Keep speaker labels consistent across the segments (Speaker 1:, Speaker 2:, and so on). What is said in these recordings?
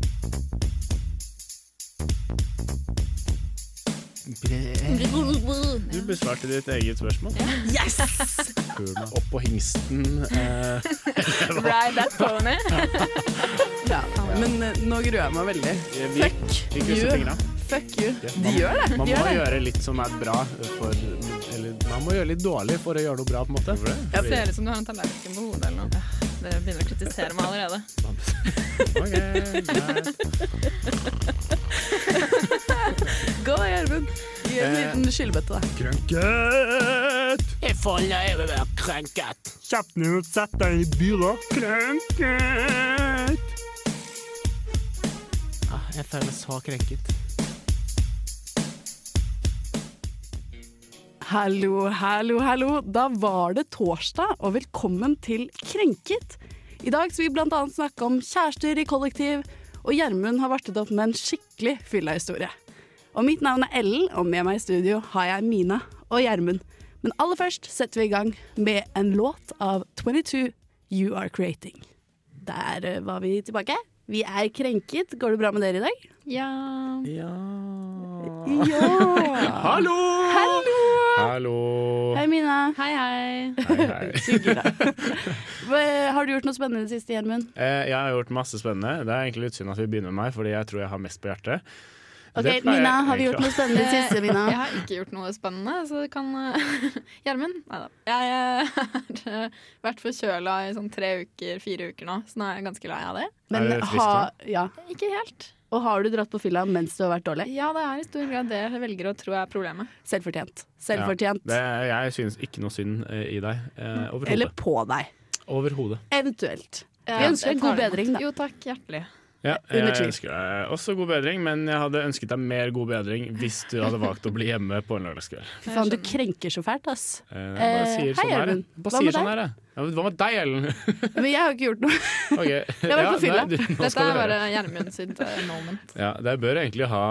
Speaker 1: Du besvarte ditt eget spørsmål.
Speaker 2: Yes!
Speaker 1: Før meg opp på hingsten. Eh,
Speaker 3: Ride that pony.
Speaker 2: Ja, men eh, nå gruer jeg meg veldig.
Speaker 1: vi, vi krysser
Speaker 2: you.
Speaker 1: fingra.
Speaker 2: Fuck you.
Speaker 1: Ja, man- Man
Speaker 2: De gjør det. De
Speaker 1: må
Speaker 2: gjør det.
Speaker 1: gjøre litt som er bra for Eller man må gjøre litt dårlig for å gjøre noe bra, på en måte.
Speaker 3: Det ser ut som du har en tallerken på hodet eller noe. Dere begynner å kritisere meg allerede.
Speaker 1: Ok, greit.
Speaker 2: Gå da, Gjermund. Gi en
Speaker 1: Eh.
Speaker 2: liten skyllebøtte, da.
Speaker 1: Krønket! Jeg folder jeg vil være krønket. Kjapt nå, sett deg i bilen. Krønket! Ah, jeg føler meg så krenket.
Speaker 2: Hallo, hallo, hallo. Da var det torsdag, og velkommen til Krenket. I dag skal vi bl.a. snakke om kjærester i kollektiv, og Gjermund har vartet opp med en skikkelig fylla historie. Og mitt navn er Ellen, og med meg i studio har jeg Mina og Gjermund. Men aller først setter vi i gang med en låt av 22 You Are Creating. Der eh, var vi tilbake. Vi er krenket. Går det bra med dere i dag?
Speaker 3: Ja.
Speaker 1: Ja
Speaker 2: Ja!
Speaker 1: Hallo!
Speaker 2: Hallo!
Speaker 1: Hallo.
Speaker 2: Hei, Mina.
Speaker 3: Hei,
Speaker 4: Eh,
Speaker 3: hei.
Speaker 1: Hei, hei.
Speaker 2: Hva- Har du gjort noe spennende i det siste, Gjermund?
Speaker 1: Eh, Jeg har gjort masse spennende. Det er egentlig litt synd at vi begynner med meg, fordi jeg tror jeg har mest på hjertet.
Speaker 2: Ok,
Speaker 1: Det pleier
Speaker 2: Mina,
Speaker 1: jeg
Speaker 2: har vi gjort
Speaker 1: egentlig
Speaker 2: noe spennende i det siste, Mina?
Speaker 4: Jeg har ikke gjort noe spennende, så det kan eh, Gjermund? Nei da. Jeg eh, har eh, vært forkjøla i sånn tre uker, fire uker nå, så nå er jeg ganske lei av det.
Speaker 1: Er
Speaker 2: Men
Speaker 1: det frisk
Speaker 2: ha,
Speaker 1: nå?
Speaker 2: ja.
Speaker 4: Ikke helt.
Speaker 2: Og har du dratt på fylla mens du har vært dårlig?
Speaker 4: Ja, det er i stor grad det jeg velger å tro er problemet.
Speaker 2: Selvfortjent. Selvfortjent.
Speaker 1: Det, jeg synes ikke noe synd eh, i deg. Eh, Overhodet.
Speaker 2: Eller på deg.
Speaker 1: Overhodet.
Speaker 2: Eventuelt. Vi
Speaker 4: Ja,
Speaker 2: ønsker
Speaker 4: jeg
Speaker 2: deg god
Speaker 4: tar det
Speaker 2: bedring,
Speaker 4: imot.
Speaker 2: da.
Speaker 4: Jo takk, hjertelig.
Speaker 1: Ja, jeg
Speaker 2: Eh, Under tvil.
Speaker 1: ønsker deg også god bedring, men jeg hadde ønsket deg mer god bedring hvis du hadde valgt å bli hjemme på en lørdagskveld.
Speaker 2: Fy faen, du krenker så fælt, ass.
Speaker 1: Eh, jeg bare
Speaker 2: Eh,
Speaker 1: sier
Speaker 2: hei,
Speaker 1: sånn her, jeg.
Speaker 2: Even.
Speaker 1: Bare
Speaker 2: Hva
Speaker 1: sier
Speaker 2: med
Speaker 1: sånn
Speaker 2: deg?
Speaker 1: her, jeg. Ja, men Hva med deg, Ellen?
Speaker 2: Men jeg har ikke gjort noe.
Speaker 1: Ok.
Speaker 2: Jeg var på
Speaker 1: nei,
Speaker 2: fylla.
Speaker 1: du- nå
Speaker 4: Dette
Speaker 1: skal
Speaker 4: er
Speaker 1: du høre.
Speaker 4: bare Gjermund sitt eh, moment.
Speaker 1: Ja, det bør egentlig ha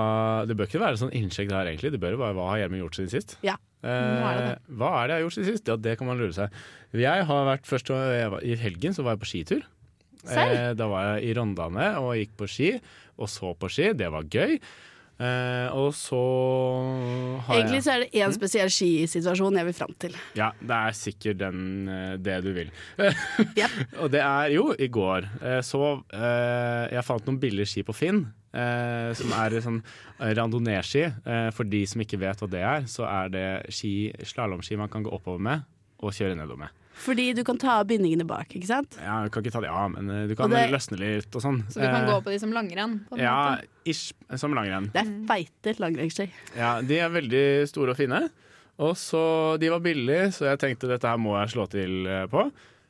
Speaker 1: Det bør ikke være sånn innsjekk der, egentlig. Det bør jo være hva har Gjermund gjort siden sist?
Speaker 2: Ja.
Speaker 1: Hva er,
Speaker 4: er
Speaker 1: det? hva er det jeg har gjort siden sist? Ja, det kan man lure seg. Jeg har vært først jeg var, I helgen så var jeg på skitur.
Speaker 2: Serr?
Speaker 1: Eh, da var jeg i Rondane og gikk på ski, og så på ski. Det var gøy. Eh, og så har
Speaker 2: Egentlig
Speaker 1: jeg
Speaker 2: så er det én spesiell skisituasjon jeg vil fram til.
Speaker 1: Ja, det er sikkert den, eh, det du vil.
Speaker 2: Yep.
Speaker 1: Og det er jo i går. eh, Så eh, jeg fant noen billige ski på Finn. eh, som er sånn randonee-ski. Eh, for de som ikke vet hva det er, så er det ski, slalåmski man kan gå oppover med og kjøre nedover med.
Speaker 2: Fordi du kan ta av bindingene bak, ikke sant?
Speaker 1: Ja, du kan ikke ta det av, men eh, du kan
Speaker 2: Og det-
Speaker 1: løsne litt og sånn.
Speaker 4: Så du kan
Speaker 1: Eh,
Speaker 4: gå på de som langrenn, på en
Speaker 1: ja,
Speaker 4: måte.
Speaker 1: ish, som langrenn.
Speaker 2: Det er
Speaker 4: Mm.
Speaker 2: feite langrennsski.
Speaker 1: Ja, de er veldig store og fine. Og så De var billige, så jeg tenkte dette her må jeg slå til eh, på.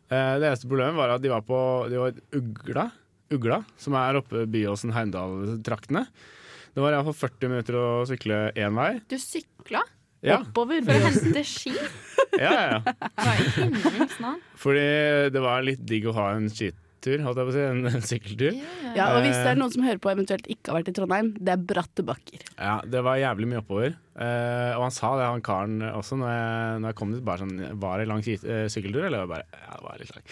Speaker 1: Eh, Det eneste problemet var at de var på De var Ugla, Ugla som er oppe Byåsen-Heimdal-traktene. Det var iallfall 40 minutter å sykle én vei.
Speaker 4: Du sykla
Speaker 1: Ja,
Speaker 2: Oppover.
Speaker 4: for å hente ski?
Speaker 1: ja, ja.
Speaker 4: Hva i himmelens navn?
Speaker 1: Fordi det var litt digg å ha en skitur, holdt jeg på å si. En, en sykkeltur.
Speaker 2: Ja, og hvis det er noen som hører på eventuelt ikke har vært i Trondheim, det er bratte bakker.
Speaker 1: Ja, Det var jævlig mye oppover. Eh, og han sa det, han karen også, når jeg, når jeg kom dit. Bare sånn Var det lang skit- eh, sykkeltur, eller? Jeg bare, ja, det var litt lang.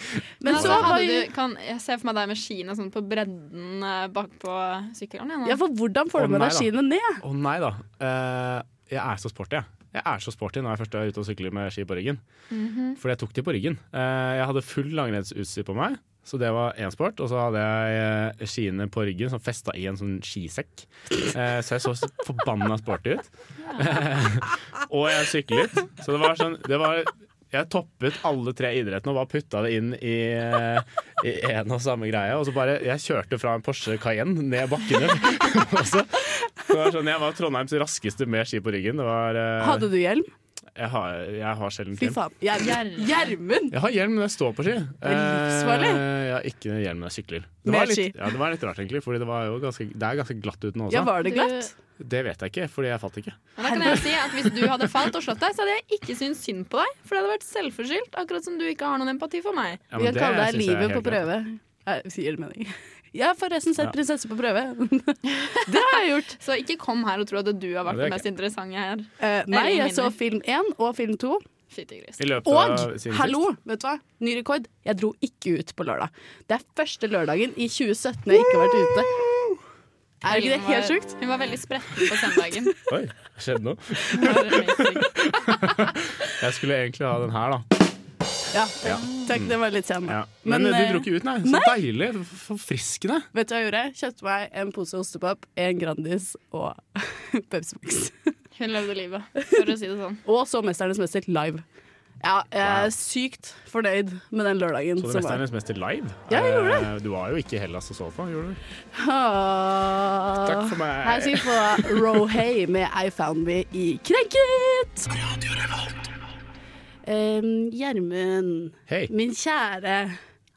Speaker 4: Men
Speaker 2: Men så
Speaker 4: altså,
Speaker 2: har
Speaker 4: hadde
Speaker 2: jo
Speaker 4: du, kan, jeg ser for meg deg med skiene sånn på bredden eh, bakpå sykkelen. Ja, nå.
Speaker 2: Ja, for hvordan
Speaker 1: Å,
Speaker 2: får du med
Speaker 1: nei
Speaker 2: deg
Speaker 1: da.
Speaker 2: skiene ned?
Speaker 1: Å nei da. Eh, jeg er så sporty, jeg. Jeg er så sporty når jeg først er ute og sykler med ski på ryggen. Fordi jeg tok de på ryggen. Eh, jeg hadde full langrennsutstyr på meg, så det var én sport. Og så hadde jeg eh, skiene på ryggen som festa i en sånn skisekk. Eh, så jeg så så forbanna sporty ut. Eh, og jeg syklet. Så det var sånn det var, Jeg toppet alle tre idrettene og bare putta det inn i eh, i en og samme greie. Og så bare Jeg kjørte fra en Porsche Cayenne ned bakkene. og så det var sånn, jeg var Trondheims raskeste med ski på ryggen. Det var, eh,
Speaker 2: Hadde du hjelm?
Speaker 1: jeg, har, jeg har sjelden
Speaker 2: Fy
Speaker 1: hjelm.
Speaker 2: faen. Gjermund! Gjermund!
Speaker 1: Jeg har hjelm når jeg står på ski.
Speaker 2: er livsfarlig.
Speaker 1: Eh, jeg har ikke hjelm når jeg sykler. Det
Speaker 2: Med
Speaker 1: var litt,
Speaker 2: ski.
Speaker 1: ja, det var litt rart, egentlig, Fordi det, var jo ganske, det er ganske glatt uten
Speaker 2: Ja,
Speaker 1: også.
Speaker 2: var det glatt?
Speaker 1: Det vet jeg ikke, fordi jeg fatt ikke.
Speaker 4: Men da kan jeg si at Hvis du hadde falt og slått deg, så hadde jeg ikke syntes synd på deg. For det hadde vært selvforskyldt, akkurat som du ikke har noen empati for meg.
Speaker 1: Ja,
Speaker 2: Vi
Speaker 1: men
Speaker 2: kan kalle
Speaker 1: synes
Speaker 2: deg
Speaker 1: jeg er
Speaker 2: livet
Speaker 1: helt
Speaker 2: på
Speaker 1: greit.
Speaker 2: prøve. Nei, Sier det mening? Jeg har forresten sett
Speaker 1: Ja.
Speaker 2: 'Prinsesse på prøve'. det har jeg gjort.
Speaker 4: Så ikke kom her og tro at du har vært
Speaker 1: Ja, det er
Speaker 4: den mest interessante her.
Speaker 2: Eh, nei,
Speaker 4: Ellen
Speaker 2: jeg så
Speaker 4: vinner.
Speaker 2: film én og film to.
Speaker 4: Fytti gris.
Speaker 1: I løpet
Speaker 2: Og,
Speaker 1: av siden
Speaker 2: hallo, vet du hva? Ny rekord. Jeg dro ikke ut på lørdag. Det er første lørdagen i 2017 jeg ikke har vært ute. Er ikke det
Speaker 4: Hun
Speaker 2: helt
Speaker 4: var-
Speaker 2: sjukt?
Speaker 4: Hun var veldig spretten på søndagen.
Speaker 1: sist. Oi, hva skjedde nå?
Speaker 4: Hun var amazing.
Speaker 1: Jeg skulle egentlig ha den her, da.
Speaker 2: Ja.
Speaker 1: Ja.
Speaker 2: Takk, det var litt sen.
Speaker 1: Ja. Men,
Speaker 2: Men,
Speaker 1: eh,
Speaker 2: eh,
Speaker 1: du dro ikke ut, nei. Så deilig. Forfriskende.
Speaker 2: Vet du hva jeg gjorde? Kjøpte meg en pose ostepop, en Grandis og Pepsi Max.
Speaker 4: Hun levde livet, for å si det sånn.
Speaker 2: Og så Mesternes mester live. Ja, jeg er
Speaker 1: Wow.
Speaker 2: sykt fornøyd med den lørdagen.
Speaker 1: Så det
Speaker 2: som
Speaker 1: meste
Speaker 2: var.
Speaker 1: er nesten mest live.
Speaker 2: Ja, jeg gjorde
Speaker 1: Eh, Du var jo ikke i Hellas og så på, gjorde du?
Speaker 2: Ah.
Speaker 1: Takk for meg.
Speaker 2: Her skal vi få Rohay med I Found Me i Krenket. Em, Gjermund,
Speaker 1: Hei.
Speaker 2: min kjære.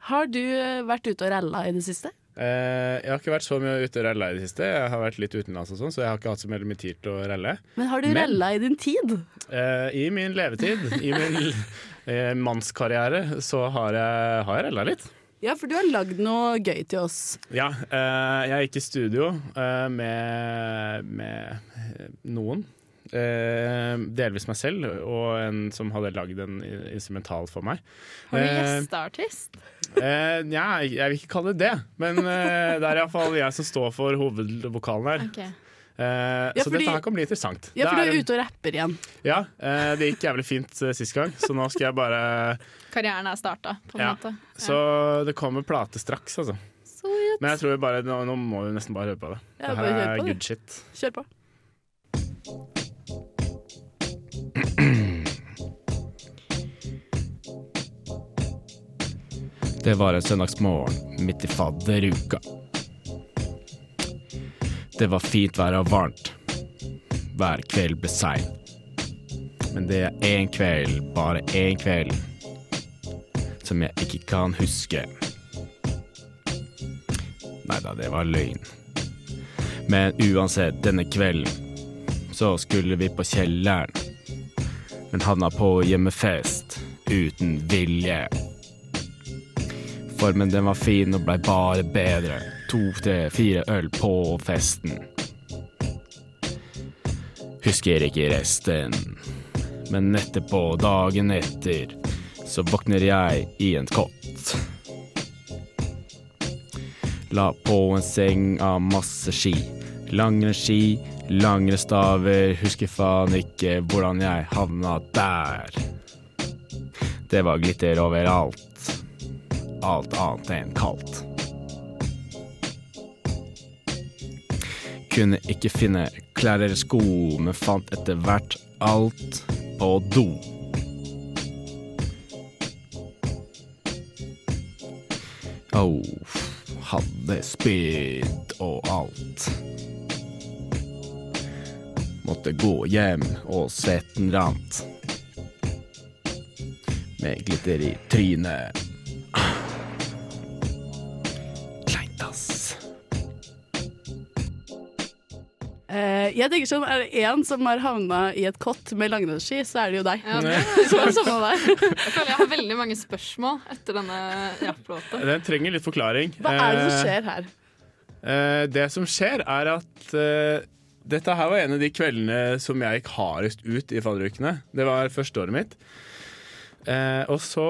Speaker 2: Har du eh, vært ute og ralla i det siste?
Speaker 1: Eh, jeg har ikke vært så mye ute og ralla i det siste. Jeg har vært litt utenlands og sånn, så jeg har ikke hatt så mye tid til å ralle.
Speaker 2: Men har du
Speaker 1: Men-
Speaker 2: ralla i din tid?
Speaker 1: Eh, I min levetid, i min eh, mannskarriere, så har jeg, har jeg ralla litt.
Speaker 2: Ja, for du har lagd noe gøy til oss.
Speaker 1: Ja, eh, jeg gikk i studio eh, med, med eh, noen. Eh, delvis meg selv, og en som hadde lagd en i- instrumental for meg.
Speaker 4: Har du
Speaker 1: Eh,
Speaker 4: gjesteartist?
Speaker 1: Eh, Nja, jeg vil ikke kalle det det, men eh, det er iallfall jeg som står for hovedvokalen her.
Speaker 4: Ok.
Speaker 1: Eh,
Speaker 2: Ja,
Speaker 1: så
Speaker 2: fordi-
Speaker 1: dette her kan bli interessant.
Speaker 2: Ja, for
Speaker 1: Det
Speaker 2: du
Speaker 1: er
Speaker 2: er
Speaker 1: en-
Speaker 2: ute og rapper igjen.
Speaker 1: Ja, eh, det gikk jævlig fint eh, sist gang, så nå skal jeg bare
Speaker 4: Karrieren er starta, på en
Speaker 1: Ja.
Speaker 4: måte.
Speaker 1: Så det kommer plate straks, altså. Men jeg tror vi bare, nå, nå må vi nesten bare høre på det.
Speaker 2: Ja,
Speaker 1: det her
Speaker 2: bare kjør
Speaker 1: er
Speaker 2: på det.
Speaker 1: good shit.
Speaker 2: Kjør på.
Speaker 1: Det var en søndagsmorgen midt i fadderuka. Det var fint vær og varmt. Hver kveld ble sein. Men det er én kveld, bare én kveld, som jeg ikke kan huske. Nei da, det var løgn. Men uansett, denne kvelden så skulle vi på kjelleren. Men havna på hjemmefest uten vilje. Formen den var fin og blei bare bedre. To, tre, fire øl på festen. Husker ikke resten. Men etterpå, dagen etter, så våkner jeg i en kott. La på en seng av masse ski. Langrennsski, langrennsstaver. Husker faen ikke hvordan jeg havna der. Det var glitter overalt alt annet enn kaldt. Kunne ikke finne klær eller sko, men fant etter hvert alt på do. Au, hadde spydd og alt. Måtte gå hjem, og svetten rant. Med glitter i trynet. Kleint, ass.
Speaker 2: Eh, jeg tenker sånn, Er det én som har havna i et kott med langrennsski, så er det jo deg.
Speaker 4: Ja, det
Speaker 2: Så er det samme der.
Speaker 4: Jeg føler jeg har veldig mange spørsmål etter denne rapplåta.
Speaker 1: Den trenger litt forklaring.
Speaker 2: Hva er det som
Speaker 1: Eh,
Speaker 2: skjer her?
Speaker 1: eh, det som skjer, er at eh, dette her var en av de kveldene som jeg gikk hardest ut i fadderukene. Det var første året mitt. Eh, og så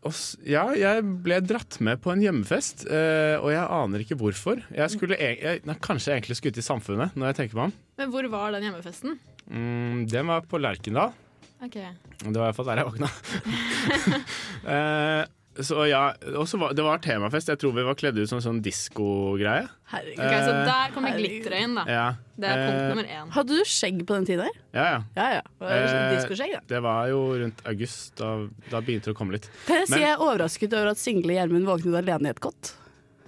Speaker 1: og, s- Ja, jeg ble dratt med på en hjemmefest, eh, og jeg aner ikke hvorfor. Jeg skulle e- jeg, nei, Kanskje jeg egentlig skulle ut i Samfunnet, når jeg tenker meg om.
Speaker 4: Men hvor var den hjemmefesten?
Speaker 1: Mm, den var på Lerkendal.
Speaker 4: Ok,
Speaker 1: Det var iallfall der jeg våkna. eh, så ja, og så var, Det var temafest. Jeg tror vi var kledd ut som sånn diskogreie.
Speaker 2: Herregud.
Speaker 4: Ok, Så
Speaker 1: Eh,
Speaker 4: der kommer glitteret inn, da.
Speaker 1: Ja.
Speaker 4: Det er punkt
Speaker 1: Eh,
Speaker 4: nummer én.
Speaker 2: Hadde du skjegg på den tiden her?
Speaker 1: Ja, ja.
Speaker 2: Ja, ja. Det var
Speaker 1: Eh,
Speaker 2: Diskoskjegg, da.
Speaker 1: Det var jo rundt august. Da, da begynte det å komme litt.
Speaker 2: Kan jeg si
Speaker 1: men-
Speaker 2: jeg er overrasket over at single Gjermund våknet alene i et kott?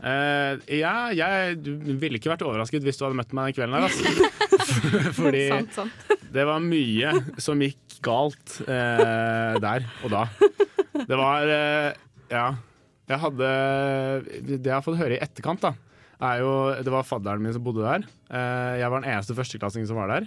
Speaker 1: Eh, ja, jeg du ville ikke vært overrasket hvis du hadde møtt meg den kvelden her. Altså. Fordi
Speaker 4: Sant, sant.
Speaker 1: det var mye som gikk galt eh, der og da. Det var eh, Ja. Jeg hadde Det jeg har fått høre i etterkant, da, er jo Det var fadderen min som bodde der. Eh, jeg var den eneste førsteklassingen som var der.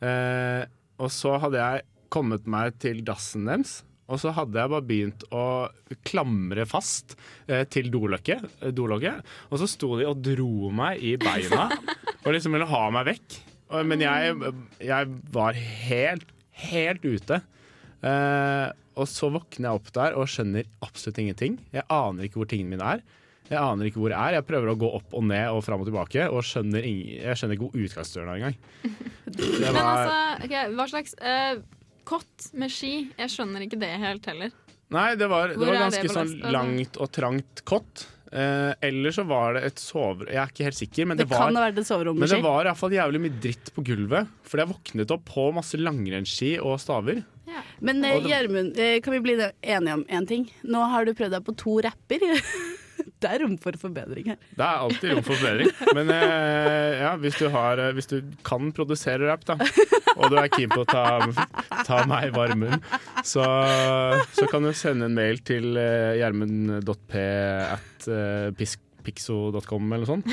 Speaker 1: Eh, og så hadde jeg kommet meg til dassen deres. Og så hadde jeg bare begynt å klamre fast eh, til dolokket. eh, dolokket. Og så sto de og dro meg i beina og liksom ville ha meg vekk. Og, men jeg, jeg var helt, helt ute. Eh, og så våkner jeg opp der og skjønner absolutt ingenting. Jeg aner ikke hvor tingene mine er. Jeg aner ikke hvor jeg er. Jeg prøver å gå opp og ned og fram og tilbake, og skjønner ing jeg skjønner ikke hvor utgangsdøren er engang. Det
Speaker 4: Men
Speaker 1: var-
Speaker 4: altså, ok, hva slags eh, Kott med ski, jeg skjønner ikke det helt heller.
Speaker 1: Nei, det var, det
Speaker 4: Hvor
Speaker 1: var
Speaker 4: er det
Speaker 1: ganske
Speaker 4: på
Speaker 1: sånn
Speaker 4: Vestlandet?
Speaker 1: langt og trangt kott. Eh, eller så var det et sover... Jeg er ikke helt sikker, men det,
Speaker 2: Det
Speaker 1: var
Speaker 2: kan ha vært et soverom
Speaker 1: men
Speaker 2: med
Speaker 1: det
Speaker 2: ski.
Speaker 1: var i hvert fall jævlig mye dritt på gulvet, fordi jeg våknet opp på masse langrennsski og staver.
Speaker 2: Men eh,
Speaker 1: Og det-
Speaker 2: Gjermund, eh, kan vi bli enige om én ting? Nå har du prøvd deg på to rapper. Det er rom for forbedring her.
Speaker 1: Det er alltid rom for forbedring. Men eh, ja, hvis, du har, eh, hvis du kan produsere rap, da, og du er keen på å ta, ta meg i varm munn, så, så kan du sende en mail til uh, gjermund.p at eh, pis- pixo.com eller noe sånt.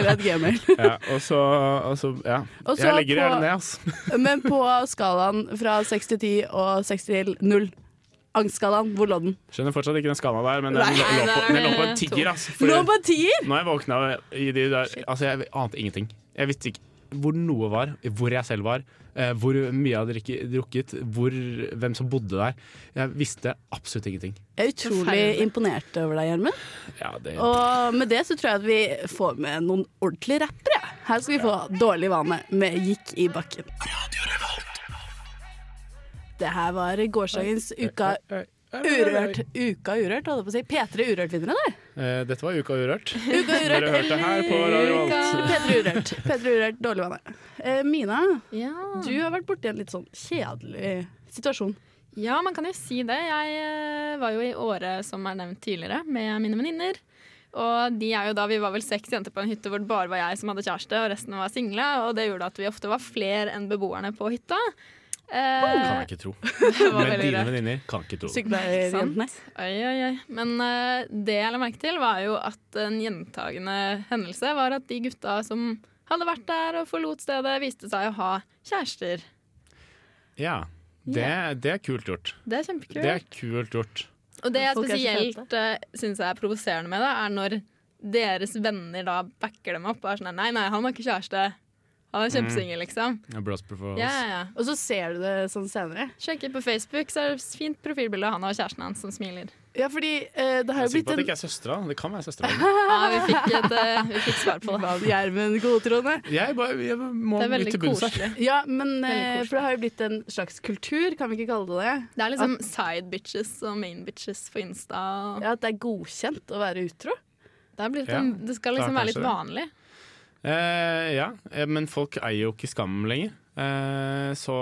Speaker 2: Eller et gmail.
Speaker 1: Ja, og så, og så ja.
Speaker 2: Og så
Speaker 1: jeg legger det
Speaker 2: på-
Speaker 1: gjerne ned, altså.
Speaker 2: Men på skalaen fra 6 til 10 og 6 til 0. Angstskalaen, hvor lå den?
Speaker 1: Skjønner fortsatt ikke den skala der, men den lå, lå, på, den lå på en tigger, altså. Fordi
Speaker 2: Lå på en tier!
Speaker 1: når jeg våkna i de der Altså, jeg ante ingenting. Jeg visste ikke hvor noe var, hvor jeg selv var, eh, hvor mye jeg hadde drikke- drukket, hvor, hvem som bodde der. Jeg visste absolutt ingenting.
Speaker 2: Jeg er utrolig
Speaker 4: Forferdelig.
Speaker 2: imponert over deg, Gjermund.
Speaker 1: Ja, det
Speaker 2: Og med det så tror jeg at vi får med noen ordentlige rappere. Ja. Her skal vi få Dårlig vane med Gikk i bakken. Det her var gårsdagens Uka
Speaker 1: Eh,
Speaker 2: Urørt. Uka Urørt, holdt jeg på å si. P3 Urørt-vinnere, der.
Speaker 1: Eh, Dette var Uka Urørt.
Speaker 2: Uka Urørt
Speaker 1: Dere hørte her på Radio
Speaker 4: Uka.
Speaker 1: Volt.
Speaker 2: P3 Urørt. P3 Urørt, Dårlig vane. Eh, Mina,
Speaker 4: Ja.
Speaker 2: du har vært borti en litt sånn kjedelig situasjon.
Speaker 4: ja, man kan jo si det. Jeg eh, var jo i Åre, som er nevnt tidligere, med mine venninner. Og de er jo da, Vi var vel seks jenter på en hytte hvor det bare var jeg som hadde kjæreste, og resten var single. Og det gjorde at vi ofte var flere enn beboerne på hytta.
Speaker 1: Oh, Kan
Speaker 4: Eh,
Speaker 1: jeg ikke tro.
Speaker 4: det var
Speaker 1: Men
Speaker 4: veldig
Speaker 1: dine
Speaker 4: rart.
Speaker 1: venninner kan ikke tro.
Speaker 4: Sant.
Speaker 2: Sykepleierjentene.
Speaker 4: Oi, oi, oi. Men eh, det jeg la merke til, var jo at en gjentagende hendelse var at de gutta som hadde vært der og forlot stedet, viste seg å ha kjærester.
Speaker 1: Ja. Det, det er kult gjort.
Speaker 4: Det er kjempekult.
Speaker 1: Det er kult gjort.
Speaker 4: og det jeg
Speaker 2: Folk er så
Speaker 4: spesielt uh, syns er provoserende med det, er når deres venner da backer dem opp og er sånn Nei, nei, han har ikke kjæreste.
Speaker 1: Mm.
Speaker 4: Han er kjempesingel, liksom.
Speaker 1: Ja, Bros before us.
Speaker 4: Ja, ja, ja.
Speaker 2: Og så ser du det sånn senere.
Speaker 4: Sjekk ut på Facebook, så er det fint profilbilde av han og kjæresten hans som smiler.
Speaker 2: Ja, fordi eh, det har
Speaker 1: Jeg er sikker
Speaker 2: jo
Speaker 1: på
Speaker 2: blitt
Speaker 1: at
Speaker 2: en
Speaker 1: det ikke er søstera. Det kan være søstera.
Speaker 4: Ja, vi fikk, et, eh, vi fikk svar på det.
Speaker 2: Hva, Gjermund godtroende.
Speaker 1: Jeg, bare, jeg må
Speaker 4: Det er
Speaker 1: litt
Speaker 4: veldig
Speaker 1: til bunns her.
Speaker 4: koselig.
Speaker 2: Ja, men
Speaker 4: Veldig
Speaker 2: eh,
Speaker 4: koselig.
Speaker 2: for det har jo blitt en slags kultur, kan vi ikke kalle det det?
Speaker 4: Det er liksom side bitches og main bitches på Insta. Og
Speaker 2: Ja, At det er godkjent å være utro.
Speaker 4: Det, er blitt
Speaker 1: Ja.
Speaker 4: en, det skal
Speaker 1: Det er
Speaker 4: liksom være litt
Speaker 1: kanskje
Speaker 4: vanlig.
Speaker 1: Eh, ja, eh, men folk eier jo ikke skammen lenger. Eh, så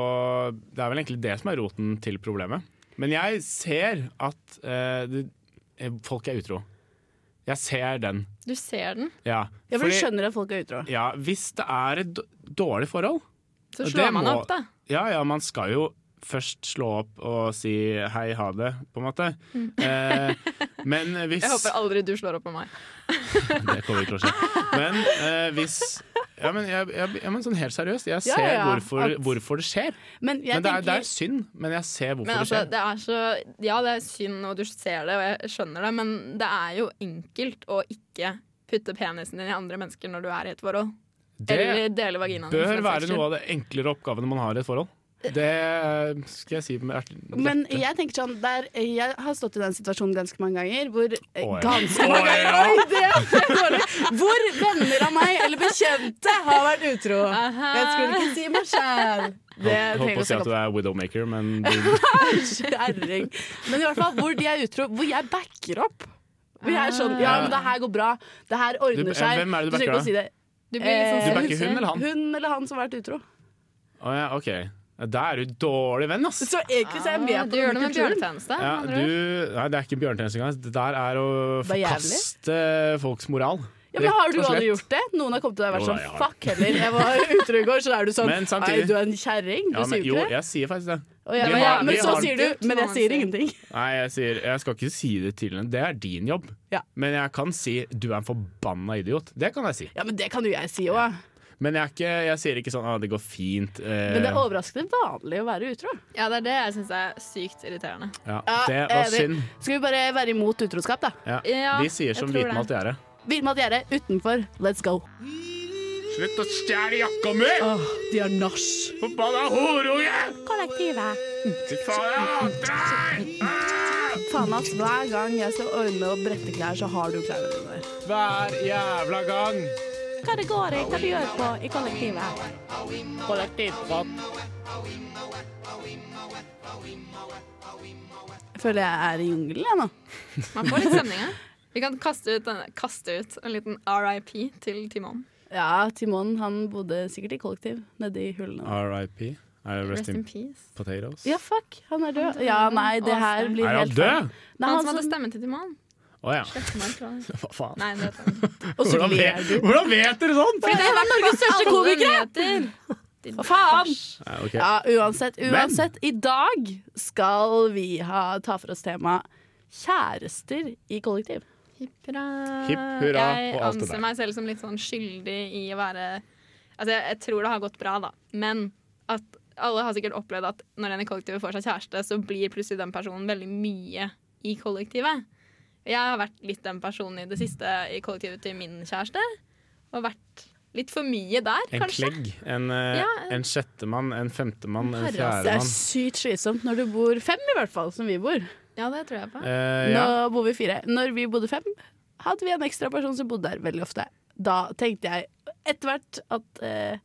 Speaker 1: det er vel egentlig det som er roten til problemet. Men jeg ser at eh, det, eh, folk er utro. Jeg ser den.
Speaker 4: Du ser den,
Speaker 1: Ja,
Speaker 2: Ja, for
Speaker 1: Fordi-
Speaker 2: du skjønner at folk er utro.
Speaker 1: ja, hvis det er et d- dårlig forhold
Speaker 4: så
Speaker 1: Og
Speaker 4: slår
Speaker 1: det
Speaker 4: man
Speaker 1: må-
Speaker 4: opp, da.
Speaker 1: Ja, ja, man skal jo først slå opp og si hei, ha det, på en måte. Eh, men hvis
Speaker 4: Jeg håper aldri du slår opp på meg.
Speaker 1: Det kommer ikke til å skje. Men eh, hvis ja men, jeg, jeg, ja, men sånn helt seriøst, jeg
Speaker 2: Ja,
Speaker 1: ser
Speaker 2: ja,
Speaker 1: hvorfor,
Speaker 2: at-
Speaker 1: hvorfor det skjer.
Speaker 2: Men jeg
Speaker 1: men det er, det er
Speaker 2: tenker
Speaker 1: synd, men jeg ser hvorfor
Speaker 4: Men altså,
Speaker 1: det skjer.
Speaker 4: det er så Ja, det er synd, og du ser det, og jeg skjønner det, men det er jo enkelt å ikke putte penisen din i andre mennesker når du er i et forhold.
Speaker 1: Det,
Speaker 4: Eller dele vaginaen. din, for
Speaker 1: bør
Speaker 4: den
Speaker 1: være
Speaker 4: saks
Speaker 1: noe
Speaker 4: skyld.
Speaker 1: av det enklere oppgavene man har i et forhold. Det eh, skal jeg si med ert- hjerte.
Speaker 2: men jeg tenker sånn der, Jeg har stått i den situasjonen ganske mange ganger hvor eh,
Speaker 1: Å, ja.
Speaker 2: Ganske
Speaker 1: Å,
Speaker 2: mange ganger!
Speaker 1: ja.
Speaker 2: Oi, det er dårlig! Hvor venner av meg eller bekjente har vært utro.
Speaker 4: Aha.
Speaker 2: Jeg skulle ikke si meg sjæl. Det
Speaker 1: Håper
Speaker 2: trenger
Speaker 1: håper å
Speaker 2: vi
Speaker 1: si
Speaker 2: å
Speaker 1: at du
Speaker 2: snakke om.
Speaker 1: er widowmaker, men du,
Speaker 2: Kjerring. Men i hvert fall hvor de er utro, hvor jeg backer opp. Hvor jeg er sånn Ja, men det her går bra. Det her
Speaker 1: Du- eh,
Speaker 2: ordner seg.
Speaker 1: hvem er det du
Speaker 2: trenger
Speaker 1: backer
Speaker 2: ikke å
Speaker 1: da?
Speaker 2: si det.
Speaker 4: Du blir litt
Speaker 1: du
Speaker 4: sånn
Speaker 1: backer hun eller han?
Speaker 2: Hun eller han som har vært utro.
Speaker 1: Å ja, OK. Da er du dårlig venn, ass.
Speaker 2: Så egentlig så er jeg med
Speaker 4: Ja,
Speaker 2: på
Speaker 4: Du gjør det med
Speaker 2: kulturen.
Speaker 4: bjørnetjeneste.
Speaker 1: Ja,
Speaker 4: med
Speaker 1: du,
Speaker 4: andre ord.
Speaker 1: nei, det er ikke bjørnetjeneste engang. Det der er å
Speaker 2: Det er jævlig.
Speaker 1: forkaste folks moral.
Speaker 2: Ja, men Har
Speaker 1: Rett
Speaker 2: du
Speaker 1: og slett.
Speaker 2: aldri gjort det? Noen har kommet til deg og vært
Speaker 1: Jo,
Speaker 2: sånn
Speaker 1: jeg har.
Speaker 2: Fuck heller, jeg var utro i går, så er du sånn
Speaker 1: Men samtidig-
Speaker 2: Nei, du er en kjerring. Du
Speaker 1: Ja, men, jo,
Speaker 2: sier jo ikke det.
Speaker 1: jeg sier faktisk det.
Speaker 2: Og jeg,
Speaker 1: vi
Speaker 2: men,
Speaker 1: har-
Speaker 2: jeg, men
Speaker 1: vi
Speaker 2: så
Speaker 1: har-
Speaker 2: sier du Men jeg sier ingenting.
Speaker 1: Nei, jeg sier Jeg skal ikke si det til henne. Det er din jobb.
Speaker 2: Ja.
Speaker 1: Men jeg kan si 'du er en forbanna idiot'. Det kan jeg si.
Speaker 2: Ja, men det kan jo jeg si òg.
Speaker 1: Men jeg, er ikke, jeg sier ikke sånn at det går fint. eh,
Speaker 2: Men det er overraskende vanlig å være utro.
Speaker 4: Ja, det er det jeg syns er sykt irriterende.
Speaker 1: ja,
Speaker 2: Ja,
Speaker 1: det var
Speaker 2: enig.
Speaker 1: synd.
Speaker 2: Skal vi bare være imot utroskap, da?
Speaker 1: Ja.
Speaker 4: Ja,
Speaker 1: De sier
Speaker 4: jeg
Speaker 1: som
Speaker 4: tror det.
Speaker 1: hvitmalt gjerde.
Speaker 2: Vilmat Gjerde utenfor, let's go.
Speaker 1: Slutt å stjele jakka mi!
Speaker 2: Åh, de har nach.
Speaker 1: Forbanna horunge!
Speaker 5: Kollektivet.
Speaker 1: Fy faen, jeg hater deg!
Speaker 2: Faen, ass. Hver gang jeg skal ordne og brette klær, så har du klærne dine der.
Speaker 1: Hver jævla gang.
Speaker 5: Hva det går i, hva du gjør på i kollektivet.
Speaker 2: Jeg føler jeg er i jungelen, jeg nå.
Speaker 4: Man får litt stemninga. Vi kan kaste ut, denne, kaste ut en liten RIP til Timon.
Speaker 2: Ja, Timon han bodde sikkert i kollektiv nede i hullene.
Speaker 1: RIP. Er det
Speaker 4: Rest in peace.
Speaker 1: potatoes?
Speaker 2: Ja, fuck. Han er død. Ja, nei, det her blir
Speaker 1: Er han
Speaker 2: helt
Speaker 1: død?
Speaker 2: feil. Nei,
Speaker 4: Han
Speaker 2: han
Speaker 4: som hadde
Speaker 2: som-
Speaker 4: stemmen til Timon.
Speaker 1: Å ja.
Speaker 4: Slettemark, tror jeg.
Speaker 1: Hva faen?
Speaker 4: Nei, det vet jeg ikke.
Speaker 2: Og så
Speaker 1: Hvordan
Speaker 2: ler
Speaker 1: vet,
Speaker 2: du.
Speaker 1: hvordan vet dere sånn? sånt?
Speaker 4: Fordi det har vært Norges største komiker!
Speaker 2: Hva faen?
Speaker 1: Nei, ok.
Speaker 2: Ja, uansett. Uansett, i dag skal vi ha, ta for oss temaet kjærester i kollektiv.
Speaker 4: Hipp hurra.
Speaker 1: Hipp hurra
Speaker 4: jeg
Speaker 1: og alt det der.
Speaker 4: anser meg selv som litt sånn skyldig i å være Altså, jeg, jeg tror det har gått bra, da. Men at alle har sikkert opplevd at når en i kollektivet får seg kjæreste, så blir plutselig den personen veldig mye i kollektivet. Jeg har vært litt den personen i det siste i kollektivet til min kjæreste. Og vært litt for mye der,
Speaker 1: En
Speaker 4: kanskje.
Speaker 1: klegg. En, eh,
Speaker 4: Ja.
Speaker 1: en sjettemann, en femtemann, en
Speaker 2: Det er
Speaker 1: fjerdemann.
Speaker 2: sykt slitsomt når du bor fem, i hvert fall, som vi bor.
Speaker 4: Ja, det tror jeg på.
Speaker 1: Eh, ja.
Speaker 2: Nå bor vi fire. Når vi bodde fem, hadde vi en ekstra person som bodde der veldig ofte. Da tenkte jeg etter hvert at eh,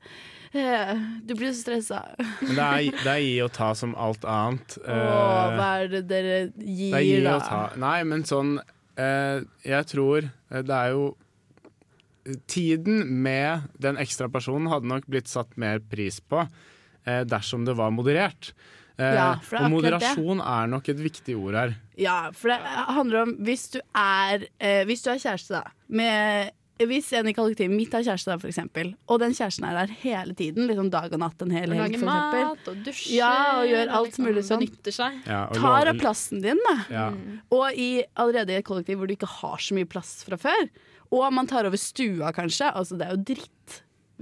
Speaker 2: eh, du blir så stressa.
Speaker 1: Men det er, det er gi og ta som alt annet.
Speaker 2: Å,
Speaker 1: Eh,
Speaker 2: hva er det dere
Speaker 1: det er gi
Speaker 2: gir,
Speaker 1: og ta.
Speaker 2: da?
Speaker 1: Nei, men sånn eh, Jeg tror eh, det er jo eh, Tiden med den ekstra personen hadde nok blitt satt mer pris på eh, dersom det var moderert. Eh,
Speaker 2: Ja, for
Speaker 1: og
Speaker 2: det er akkurat det.
Speaker 1: moderasjon er nok et viktig ord her.
Speaker 2: Ja, for det handler om hvis du er, eh, hvis du er kjæreste, da. Med, hvis en i kollektivet mitt har kjæreste, da, for eksempel, og den kjæresten er der hele tiden, liksom dag og natt en hel
Speaker 4: Å
Speaker 2: helg,
Speaker 4: lage
Speaker 2: for eksempel,
Speaker 4: mat og dusje.
Speaker 2: Ja, og gjør alt mulig sånn.
Speaker 4: Benytter seg.
Speaker 1: Ja, og
Speaker 2: tar
Speaker 1: lov-
Speaker 2: av plassen din, da.
Speaker 1: Ja.
Speaker 2: Og i, allerede i et kollektiv hvor du ikke har så mye plass fra før. Og man tar over stua, kanskje. Altså, det er jo dritt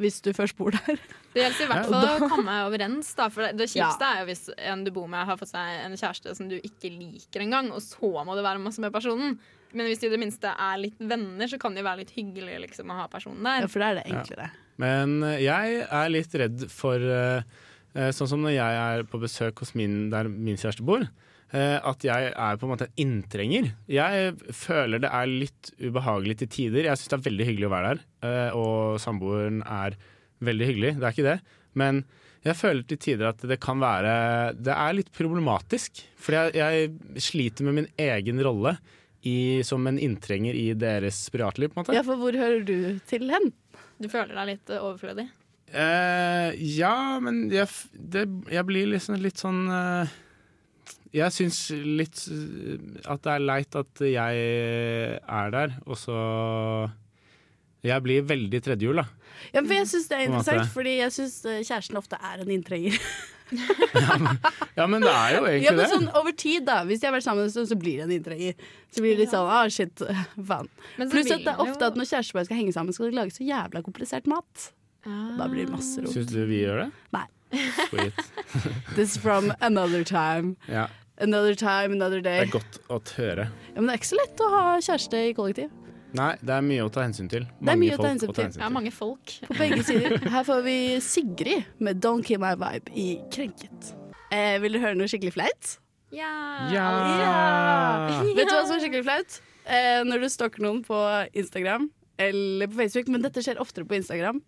Speaker 2: hvis du først bor der.
Speaker 4: Det gjelder i hvert fall å komme overens. Da, for det, det kjipeste er jo hvis en du bor med, har fått seg en kjæreste som du ikke liker engang, og så må du være masse med personen. Men hvis de i det minste er litt venner, så kan det jo være litt hyggelig liksom, å ha personen
Speaker 2: Ja,
Speaker 4: der.
Speaker 2: for da er det enklere.
Speaker 1: Men eh, jeg er litt redd for eh, eh, Sånn som når jeg er på besøk hos min, der min kjæreste bor, eh, at jeg er på en måte en inntrenger. Jeg føler det er litt ubehagelig til tider. Jeg syns det er veldig hyggelig å være der, eh, og samboeren er veldig hyggelig, det er ikke det. Men jeg føler til tider at det kan være Det er litt problematisk. For jeg, jeg sliter med min egen rolle i, som en inntrenger i deres privatliv, på en måte.
Speaker 2: Ja, for hvor hører du til hen?
Speaker 4: Du føler deg litt eh, overflødig.
Speaker 1: Eh, ja, men jeg, f- det, jeg blir liksom litt sånn eh, Jeg syns litt eh, at det er leit at jeg er der, og så Jeg blir veldig tredjehjul, da.
Speaker 2: Ja, for jeg syns det er
Speaker 1: Mm. På en måte.
Speaker 2: interessant, fordi jeg syns kjæresten ofte er en inntrenger.
Speaker 1: Ja, men det er jo
Speaker 2: Ja,
Speaker 1: egentlig
Speaker 2: men
Speaker 1: det.
Speaker 2: sånn over tid, da. Hvis de har vært sammen en stund, så blir det en inntrenger. Så blir det litt sånn ah, shit, faen.
Speaker 4: Men så
Speaker 2: Pluss
Speaker 4: vil
Speaker 2: at det er
Speaker 4: man jo-
Speaker 2: ofte at når kjærestepar skal henge sammen, skal de lage så jævla komplisert mat. Da blir det masse rot.
Speaker 1: Ah. Syns du vi gjør det?
Speaker 2: Nei.
Speaker 1: Sweet.
Speaker 2: This is from another time.
Speaker 1: Ja,
Speaker 2: Another time, another
Speaker 1: det
Speaker 2: day.
Speaker 1: er godt å høre.
Speaker 2: Ja, men det er ikke så lett å ha kjæreste i kollektiv.
Speaker 1: Nei, det er mye å ta hensyn til.
Speaker 2: er mye å ta
Speaker 1: folk
Speaker 2: hensyn til.
Speaker 4: Ja, mange folk.
Speaker 2: På begge sider. Her får vi Sigrid med 'Don't Kill My Vibe' i Krenket. Eh, vil du høre noe skikkelig flaut?
Speaker 4: Ja.
Speaker 1: Ja.
Speaker 2: Vet du hva som er skikkelig flaut? Eh, når du stalker noen på Instagram eller på Facebook, men dette skjer oftere på Instagram.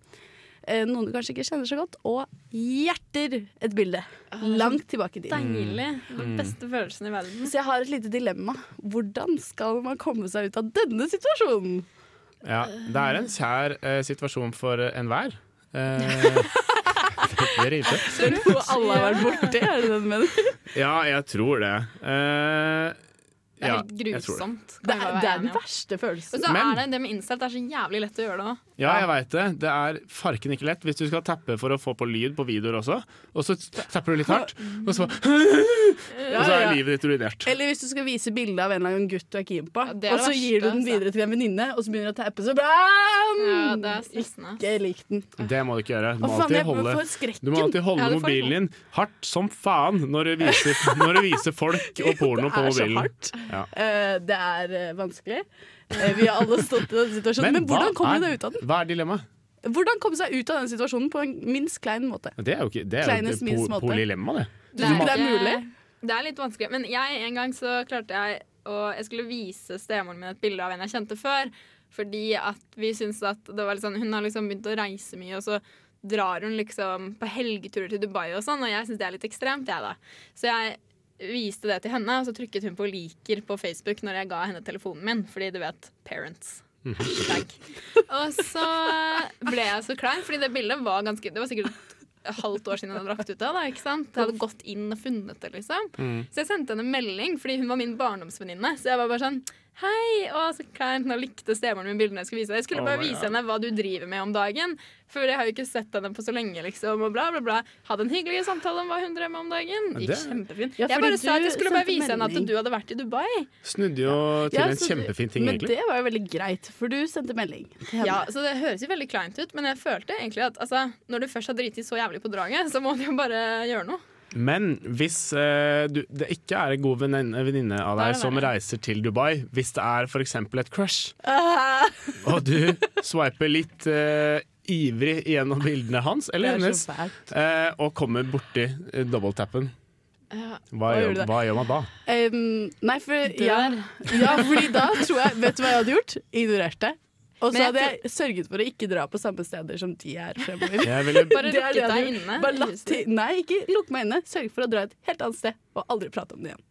Speaker 2: Eh, noen du kanskje ikke kjenner så godt, og hjerter et bilde. Langt tilbake i tid.
Speaker 1: Mm.
Speaker 4: Deilig. Den beste følelsen i verden.
Speaker 2: Så jeg har et lite dilemma. Hvordan skal man komme seg ut av denne situasjonen?
Speaker 1: Ja, det er en kjær eh, situasjon for enhver. Eh, det er riktig.
Speaker 2: Noe alle har vært borti, er det det du mener?
Speaker 1: Ja, jeg tror det. Eh,
Speaker 4: Det er
Speaker 1: ja,
Speaker 4: helt
Speaker 1: jeg tror det.
Speaker 4: grusomt.
Speaker 2: Det
Speaker 4: kan vi bare
Speaker 2: er,
Speaker 4: være
Speaker 2: det er den
Speaker 4: enige om.
Speaker 2: verste følelsen.
Speaker 4: Og så
Speaker 1: Men-
Speaker 4: er det det med Insta, det er så jævlig lett å gjøre det òg.
Speaker 1: Ja, jeg veit det. Det er farken ikke lett. Hvis du skal tappe for å få på lyd på videoer også, og så tapper du litt hardt, og så, og så
Speaker 2: Ja,
Speaker 1: er
Speaker 2: ja.
Speaker 1: livet ditt ruinert.
Speaker 2: Eller hvis du skal vise bilde av en eller annen gutt du er keen på,
Speaker 4: Ja, det er
Speaker 2: og så
Speaker 4: det
Speaker 2: gir du
Speaker 4: verste,
Speaker 2: den
Speaker 4: altså.
Speaker 2: videre til en venninne, og så begynner du å tappe, så bam!
Speaker 4: Ja, det er stressende.
Speaker 2: Ikke lik den.
Speaker 1: Det må du ikke gjøre. Du
Speaker 2: Å,
Speaker 1: må
Speaker 2: faen,
Speaker 1: alltid
Speaker 2: jeg
Speaker 1: holde,
Speaker 2: får skrekken.
Speaker 1: du må alltid holde
Speaker 4: Ja, det får jeg
Speaker 1: mobilen din hardt som faen når du viser, når du viser folk og porno på
Speaker 2: Det er så
Speaker 1: mobilen.
Speaker 2: hardt.
Speaker 1: Ja.
Speaker 2: Eh, det er eh, vanskelig. Eh, vi har alle stått i den situasjonen. Men,
Speaker 1: hva
Speaker 2: hvordan kommer
Speaker 1: er-
Speaker 2: du deg ut av den?
Speaker 1: Hva er dilemmaet?
Speaker 2: Hvordan komme seg ut av den situasjonen på en minst klein måte?
Speaker 1: Men Det er jo ikke Det er jo
Speaker 2: Kleinest minst
Speaker 1: po
Speaker 2: måte.
Speaker 1: polylemma, det.
Speaker 2: Du tror ikke det er mulig?
Speaker 4: Eh, Det er litt vanskelig. Men jeg, en gang så klarte jeg å Jeg skulle vise stemoren min et bilde av en jeg kjente før. Fordi at vi syntes at det var litt sånn Hun har liksom begynt å reise mye, og så drar hun liksom på helgeturer til Dubai og sånn, og jeg syns det er litt ekstremt, jeg, da. Så jeg viste det til henne, og så trykket hun på liker på Facebook når jeg ga henne telefonen min, fordi du vet parents. Hashtag. Og så ble jeg så klein, fordi det bildet var ganske Det var sikkert et halvt år siden jeg hadde lagt ut det. da, ikke sant? Jeg hadde gått inn og funnet det, liksom. Så jeg sendte henne en melding, fordi hun var min barndomsvenninne. Så jeg var bare sånn Hei, å, så kleint. Nå likte stemoren min bildene jeg skulle vise deg. Jeg skulle
Speaker 1: Oh
Speaker 4: bare
Speaker 1: my
Speaker 4: vise
Speaker 1: God.
Speaker 4: henne hva du driver med om dagen. For jeg har jo ikke sett henne på så lenge, liksom. Og bla, bla, bla. Hadde en hyggelig samtale om hva hun drev med om dagen. Det gikk
Speaker 1: Det-
Speaker 4: kjempefint.
Speaker 2: Ja, fordi
Speaker 4: jeg bare sa at
Speaker 2: du
Speaker 4: jeg skulle bare
Speaker 2: sendte
Speaker 4: vise henne
Speaker 2: melding.
Speaker 4: at du hadde vært i Dubai.
Speaker 1: Snudde jo til
Speaker 2: Ja,
Speaker 1: en
Speaker 2: så-
Speaker 1: kjempefin ting,
Speaker 2: men
Speaker 1: egentlig.
Speaker 2: det var jo veldig greit, for du sendte melding. til henne.
Speaker 4: Ja, så Det høres jo veldig kleint ut, men jeg følte egentlig at altså, når du først har driti så jævlig på draget, så må du jo bare gjøre noe.
Speaker 1: Men hvis eh, du, det ikke er en god venninne, venninne av
Speaker 4: Da er
Speaker 1: deg
Speaker 4: det
Speaker 1: som
Speaker 4: verre.
Speaker 1: reiser til Dubai, hvis det er f.eks. et crush,
Speaker 2: Ah,
Speaker 1: og du swiper litt eh, ivrig gjennom bildene hans
Speaker 2: det
Speaker 1: eller
Speaker 2: er
Speaker 1: hennes,
Speaker 2: så fælt.
Speaker 1: eh, og kommer borti uh, double-tappen,
Speaker 4: Ja,
Speaker 1: hva,
Speaker 2: Hva gjør
Speaker 1: gjør-
Speaker 2: du da?
Speaker 1: hva gjør man da?
Speaker 2: Um, nei, for ja,
Speaker 4: Dør.
Speaker 2: ja, fordi da tror jeg Vet du hva jeg hadde gjort? Ignorert det. Og så
Speaker 4: Men jeg
Speaker 2: hadde jeg sørget for å ikke dra på samme steder som de er fremover.
Speaker 1: Jeg ville
Speaker 4: Bare
Speaker 2: Det er det
Speaker 4: lukket
Speaker 2: jeg
Speaker 4: deg
Speaker 2: hadde gjort.
Speaker 4: inne.
Speaker 2: Bare
Speaker 4: i
Speaker 2: latt
Speaker 4: huset.
Speaker 2: til, nei, ikke lukk meg inne. Sørg for å dra et helt annet sted, og aldri prate om det igjen.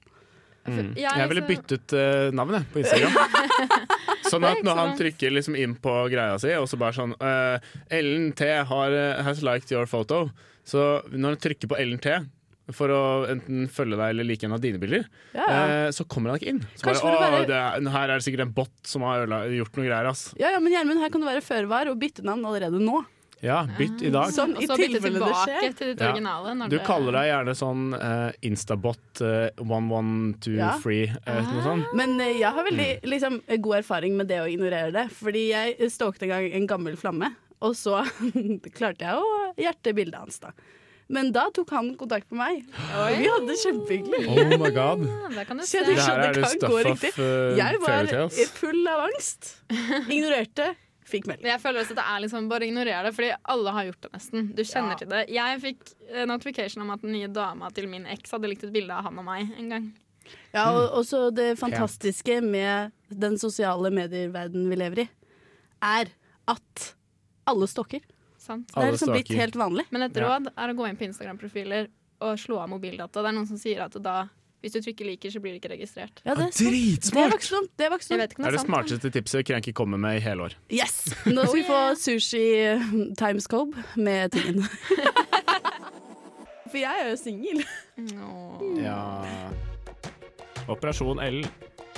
Speaker 1: Mm.
Speaker 4: Ja,
Speaker 1: Jeg ville
Speaker 4: altså-
Speaker 2: liksom.
Speaker 1: byttet eh, navn jeg, på Instagram. Sånn at
Speaker 4: ikke
Speaker 1: når
Speaker 4: så
Speaker 1: han
Speaker 4: dumt.
Speaker 1: trykker liksom inn på greia si, og så bare sånn eh, Ellen T har, eh, has liked your photo. Så når han trykker på Ellen T for å enten følge deg eller like en av dine bilder,
Speaker 2: Ja, ja.
Speaker 1: eh, så kommer han ikke inn. Så
Speaker 2: Kanskje
Speaker 1: bare,
Speaker 2: for å
Speaker 1: «Åh,
Speaker 2: være-
Speaker 1: det er, her er det sikkert en bot som har ødela- gjort noe greier, ass.
Speaker 2: ja, ja, Men Gjermund, her kan du være før var og bytte navn allerede nå.
Speaker 1: Ja, bytt i dag.
Speaker 2: Så- Sånn,
Speaker 4: og
Speaker 2: i
Speaker 4: så bytte
Speaker 2: tilfelle det
Speaker 4: tilbake
Speaker 2: skjer.
Speaker 4: til ditt
Speaker 1: Ja.
Speaker 4: originale. Når
Speaker 1: Du kaller deg gjerne sånn eh, Instabot eh, 1123
Speaker 2: Ja.
Speaker 1: eh, noe sånt.
Speaker 2: Men eh, jeg har veldig liksom, god erfaring med det å ignorere det. Fordi jeg stalket en gang en gammel flamme, og så klarte jeg å hjerte bildet hans da. Men da tok han kontakt med meg, og vi hadde det kjempehyggelig.
Speaker 1: Oh my god.
Speaker 4: ja, der kan du
Speaker 2: Så
Speaker 4: se.
Speaker 2: jeg
Speaker 1: Det her
Speaker 2: skjønner
Speaker 1: er
Speaker 2: ikke
Speaker 1: det
Speaker 2: hva
Speaker 1: stuff
Speaker 2: går
Speaker 1: of
Speaker 2: riktig.
Speaker 1: eh,
Speaker 2: Jeg var
Speaker 1: fairytales.
Speaker 2: full av angst. Ignorerte, fikk melding.
Speaker 4: Men Jeg føler også at det er liksom Bare ignorer det, fordi alle har gjort det nesten. Du kjenner
Speaker 2: Ja.
Speaker 4: til det. Jeg fikk eh, notification om at den nye dama til min eks hadde likt et bilde av han og meg en gang.
Speaker 2: Ja, og også det fantastiske med den sosiale medieverdenen vi lever i, er at alle stalker.
Speaker 4: Sant?
Speaker 2: Det
Speaker 1: Alle
Speaker 2: er liksom blitt
Speaker 1: stalker.
Speaker 2: helt vanlig.
Speaker 4: Men et
Speaker 1: Ja.
Speaker 4: råd er å gå inn på Instagram-profiler og slå av mobildata. Det er noen som sier at da, hvis du trykker liker, så blir det ikke registrert.
Speaker 2: Ja, det er sant. Det er
Speaker 1: Dritsmart!
Speaker 2: voksenomt. Det er voksenomt.
Speaker 4: Jeg vet ikke
Speaker 1: Det
Speaker 4: om
Speaker 1: er
Speaker 4: det
Speaker 1: det
Speaker 4: er sant.
Speaker 1: smarteste tipset Krenki kommer med i hele år.
Speaker 2: Yes! Nå skal vi få sushi timescope med tingen. For jeg er jo singel.
Speaker 4: Åh.
Speaker 1: Operasjon L.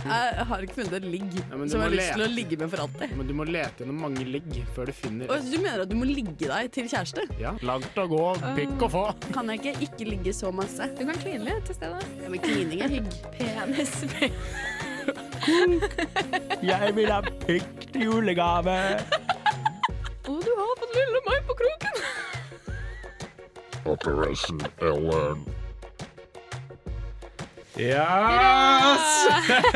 Speaker 2: Jeg har ikke funnet et ligg
Speaker 1: men du
Speaker 2: som jeg
Speaker 1: må
Speaker 2: har lyst til å
Speaker 1: lete.
Speaker 2: ligge med for alltid.
Speaker 1: Men du må lete gjennom mange ligg før du finner
Speaker 2: Og Du mener at du må ligge deg til kjæreste?
Speaker 1: Ja, Langt å gå, pikk å få.
Speaker 2: Kan jeg ikke ikke ligge så masse?
Speaker 4: Du kan kline litt i stedet.
Speaker 2: Ja, men klining er hygg.
Speaker 4: Penis.
Speaker 1: Jeg vil ha pikk til julegave.
Speaker 4: Å, du har fått lille meg på kroken!
Speaker 6: Operation Ellen.
Speaker 1: Yes!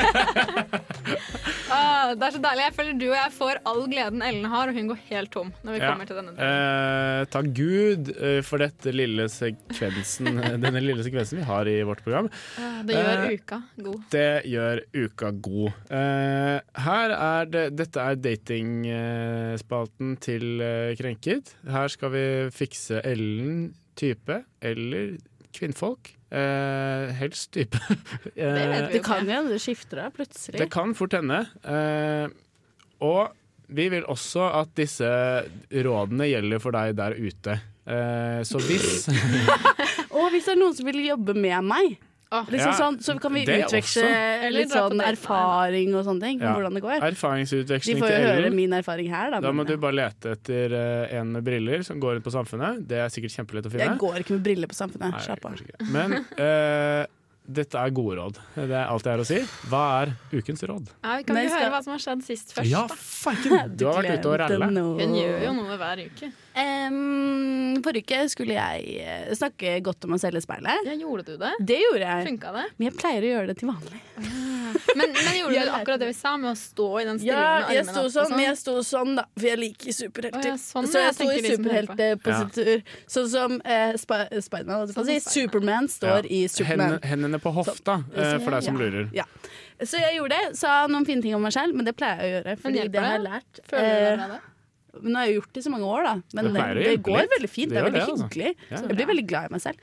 Speaker 4: Ah, det er så deilig. Jeg føler du og jeg får all gleden Ellen har, og hun går helt tom. når vi
Speaker 1: Ja.
Speaker 4: kommer til denne delen.
Speaker 1: Eh, takk Gud eh, for dette lille sekvensen, eh, denne lille sekvensen vi har i vårt program.
Speaker 4: Ah, Det gjør
Speaker 1: eh,
Speaker 4: uka god.
Speaker 1: Det gjør uka god. Eh, her er det, dette er datingspalten til eh, Krenket. Her skal vi fikse Ellen type eller kvinnfolk. Eh, helst type.
Speaker 4: vet
Speaker 1: Eh,
Speaker 2: Det kan jo hende det skifter deg plutselig.
Speaker 1: det kan fort hende. Eh, og vi vil også at disse rådene gjelder for deg der ute. Eh, så hvis
Speaker 2: Og hvis det er noen som vil jobbe med meg,
Speaker 4: Åh.
Speaker 2: liksom
Speaker 1: Ja,
Speaker 2: sånn, så kan vi
Speaker 1: det
Speaker 2: utveksle
Speaker 4: Eller
Speaker 2: litt
Speaker 4: dra på
Speaker 2: sånn
Speaker 4: date.
Speaker 2: erfaring og sånne ting.
Speaker 1: Ja.
Speaker 2: Hvordan det går. De
Speaker 1: erfaringsutveksling
Speaker 2: får jo
Speaker 1: til
Speaker 2: høre
Speaker 1: Ellen
Speaker 2: min erfaring her, da.
Speaker 1: Da må
Speaker 2: men-
Speaker 1: du bare lete etter eh, en med briller som går rundt på Samfunnet. Det er sikkert kjempelett å finne.
Speaker 2: Jeg går ikke med briller på samfunnet.
Speaker 1: Nei,
Speaker 2: Slapp av.
Speaker 1: kanskje ikke. Men eh, dette er gode råd. Det er alt jeg har å si. Hva er ukens råd?
Speaker 4: Ja, vi kan
Speaker 2: Nei,
Speaker 4: jo
Speaker 2: skal-
Speaker 4: høre hva som har skjedd sist først. da.
Speaker 1: fucken! Du har vært ute og ralla.
Speaker 4: Hun gjør jo noe hver uke.
Speaker 2: Em, forrige uke skulle jeg eh, snakke godt om å selge speilet.
Speaker 4: Ja, gjorde du det?
Speaker 2: Det gjorde jeg.
Speaker 4: Funka det?
Speaker 2: Men jeg pleier å gjøre det til vanlig.
Speaker 4: Men, men gjorde
Speaker 7: Jeg
Speaker 4: du
Speaker 7: lærte
Speaker 4: akkurat det vi sa, med å stå i den
Speaker 2: Ja,
Speaker 4: stillingen med
Speaker 2: jeg
Speaker 4: armene
Speaker 2: sto
Speaker 4: opp?
Speaker 2: sånn,
Speaker 4: og
Speaker 2: men jeg sto sånn, da. For jeg liker
Speaker 4: Å
Speaker 2: superhelter.
Speaker 4: ja, sånn,
Speaker 2: så
Speaker 4: ja,
Speaker 2: jeg sto i
Speaker 4: tenker de som hører på.
Speaker 2: superheltpositur. Sånn som eh, Sp Spiderman, holdt jeg på
Speaker 4: Sånn som
Speaker 2: å si.
Speaker 4: Spiderman.
Speaker 2: Superman står i Superman.
Speaker 1: Hen- Hendene på hofta, eh, for deg som lurer.
Speaker 2: Ja. Så jeg gjorde det. Sa noen fine ting om meg selv, men det pleier jeg å gjøre. Fordi
Speaker 4: hjelper
Speaker 2: det har jeg
Speaker 4: det?
Speaker 2: lært.
Speaker 4: Føler du deg bra da?
Speaker 2: Eh, nå har jeg gjort det i så mange år, da. Men
Speaker 1: Det
Speaker 2: det,
Speaker 1: pleier å
Speaker 2: det,
Speaker 1: hjelpe
Speaker 2: går
Speaker 1: litt.
Speaker 2: veldig fint.
Speaker 1: Det
Speaker 2: Det, er
Speaker 1: gjør
Speaker 2: veldig
Speaker 1: det, altså.
Speaker 2: hyggelig.
Speaker 1: Ja.
Speaker 2: Jeg blir veldig glad i meg selv.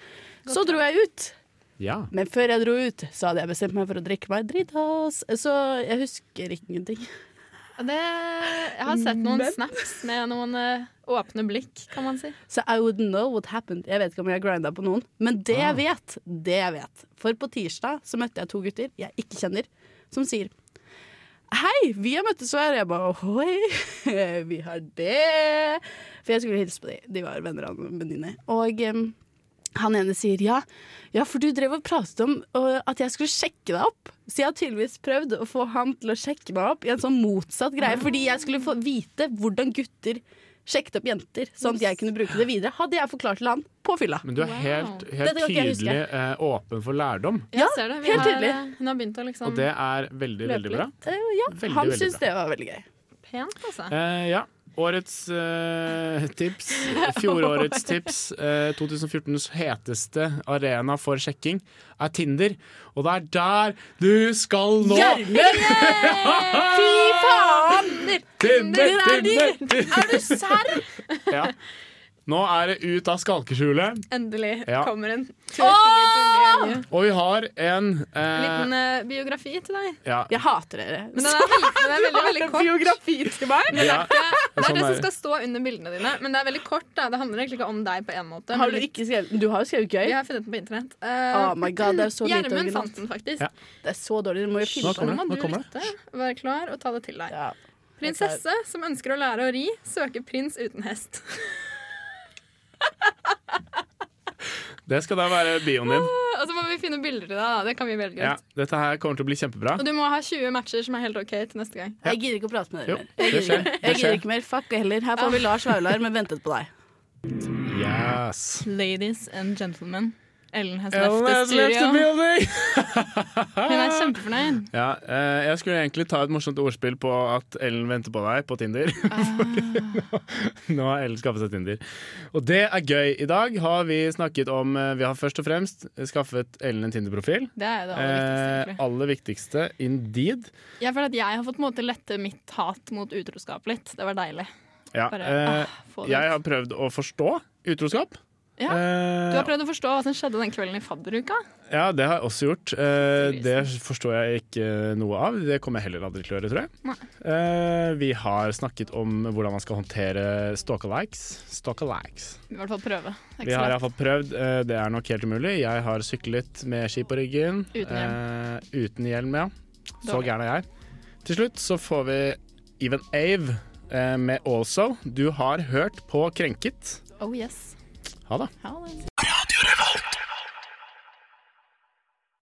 Speaker 2: Så dro jeg ut.
Speaker 1: Ja.
Speaker 2: Men før jeg dro ut, så hadde jeg bestemt meg for å drikke meg dritass. Så jeg husker ingenting. Eh,
Speaker 4: Ja, Det, jeg har sett noen snaps med noen eh, åpne blikk, kan man si.
Speaker 2: Så I wouldn't know what happened. Jeg vet ikke om jeg grinda på noen. Men det jeg vet, det jeg vet. For på tirsdag så møtte jeg to gutter jeg ikke kjenner, som sier Hei, vi har møttes her. Jeg bare Hoi, vi har det. For jeg skulle hilse på dem. De var venner av en venninne. Og em, han ene sier ja. Ja, for du drev og pratet om ø, at jeg skulle sjekke deg opp. Så jeg har tydeligvis prøvd å få han til å sjekke meg opp i en sånn motsatt greie. Fordi jeg skulle få vite hvordan gutter sjekket opp jenter, sånn at jeg kunne bruke det videre. Hadde jeg forklart til han på fylla.
Speaker 1: Men du er
Speaker 4: Wow.
Speaker 1: helt,
Speaker 2: Dette
Speaker 1: helt
Speaker 2: kan ikke jeg
Speaker 1: tydelig eh, åpen for lærdom,
Speaker 4: Jeg ser det. Vi
Speaker 2: helt
Speaker 4: har,
Speaker 2: tydelig.
Speaker 4: eh, Hun har begynt å liksom
Speaker 1: og det er veldig, veldig bra.
Speaker 2: Eh, ja,
Speaker 1: Veldig,
Speaker 2: han
Speaker 1: veldig
Speaker 2: syntes
Speaker 1: bra.
Speaker 2: det var veldig gøy.
Speaker 4: Pent, altså.
Speaker 1: Eh, ja. Årets eh, tips, fjorårets tips, eh, 2014s heteste arena for sjekking er Tinder. Og det er der du skal nå!
Speaker 2: Fy faen!
Speaker 1: Tinder,
Speaker 2: er
Speaker 1: Tinder,
Speaker 2: de-
Speaker 1: Tinder!
Speaker 2: Er du serr?
Speaker 1: Ja. Nå er det ut av skalkeskjulet,
Speaker 4: Endelig
Speaker 1: Ja.
Speaker 4: kommer hun. Åh!
Speaker 1: og vi har en eh,
Speaker 4: Liten eh, biografi til deg.
Speaker 1: ja,
Speaker 2: Jeg hater dere.
Speaker 4: Men den er, liten, den er veldig, veldig kort.
Speaker 2: biografi til meg?
Speaker 1: ja,
Speaker 4: Det er
Speaker 1: Sånn er
Speaker 4: det som
Speaker 1: det.
Speaker 4: skal stå under bildene dine, men det er veldig kort. da Det handler egentlig ikke om deg på en måte.
Speaker 2: Har
Speaker 4: men
Speaker 2: du
Speaker 4: litt-
Speaker 2: ikke skrevet Du har jo skrevet
Speaker 4: Jeg
Speaker 2: gøy.
Speaker 4: har funnet den på internett. Eh,
Speaker 2: Oh my god, det er så lite
Speaker 4: Gjermund fant
Speaker 2: originalt.
Speaker 4: den faktisk.
Speaker 1: Ja.
Speaker 2: Det er så dårlig. Du må jo
Speaker 4: Så
Speaker 2: finne
Speaker 1: Nå
Speaker 2: på
Speaker 1: kommer
Speaker 2: noe.
Speaker 1: det,
Speaker 4: må du
Speaker 1: nå kommer
Speaker 4: lytte, være klar og ta det til deg.
Speaker 2: Ja.
Speaker 4: Prinsesse som ønsker å lære å ri, søker prins uten hest.
Speaker 1: Det skal da være bioen din.
Speaker 4: Og så må vi finne bilder til deg, da. Det kan vi velge
Speaker 1: Ja,
Speaker 4: ut.
Speaker 1: dette her kommer til å bli kjempebra.
Speaker 4: Og du må ha 20 matcher som er helt OK til neste gang.
Speaker 2: Jeg gidder ikke å prate med
Speaker 1: Jo,
Speaker 2: dere mer.
Speaker 1: det skjer. Det
Speaker 2: Jeg gidder
Speaker 1: skjer.
Speaker 2: ikke mer. Fuck heller. Her får vi Lars Vaular med 'Ventet på deg'.
Speaker 1: Yes.
Speaker 4: Ladies and gentlemen. Ellen has
Speaker 1: Ellen has left the building!
Speaker 4: Hun er kjempefornøyd.
Speaker 1: Ja, eh, jeg skulle egentlig ta et morsomt ordspill på at Ellen venter på deg på Tinder.
Speaker 4: Ah.
Speaker 1: Fordi nå, nå har Ellen skaffet seg Tinder. Og det er gøy. I dag har vi snakket om eh, Vi har først og fremst skaffet Ellen en Tinder-profil.
Speaker 4: Det er jo det aller
Speaker 1: Eh,
Speaker 4: viktigste. egentlig.
Speaker 1: aller viktigste, indeed.
Speaker 4: Jeg føler at jeg har fått på en måte lette mitt hat mot utroskap litt. Det var deilig.
Speaker 1: Ja,
Speaker 4: Bare,
Speaker 1: eh,
Speaker 4: ah, få det
Speaker 1: jeg
Speaker 4: ut.
Speaker 1: har prøvd å forstå utroskap.
Speaker 4: Ja,
Speaker 1: Eh,
Speaker 4: Du har prøvd å forstå hva som skjedde den kvelden i fadderuka.
Speaker 1: ja, det har jeg også gjort. Eh, det forstår jeg ikke noe av. Det kommer jeg heller aldri til å gjøre, tror jeg. Eh, vi har snakket om hvordan man skal håndtere stalkalikes. Stalkalikes.
Speaker 4: I hvert fall prøve. Det
Speaker 1: Vi
Speaker 4: er ikke så
Speaker 1: har
Speaker 4: lett.
Speaker 1: iallfall prøvd. eh, Det er nok helt umulig. Jeg har syklet med ski på ryggen.
Speaker 4: Uten hjelm.
Speaker 1: Eh, uten hjelm, ja. Så
Speaker 4: Dårlig.
Speaker 1: gæren er jeg. Til slutt så får vi Even Ave eh, med Also. Du har hørt på Krenket.
Speaker 4: Oh yes.
Speaker 1: Ha det.
Speaker 4: Ha det.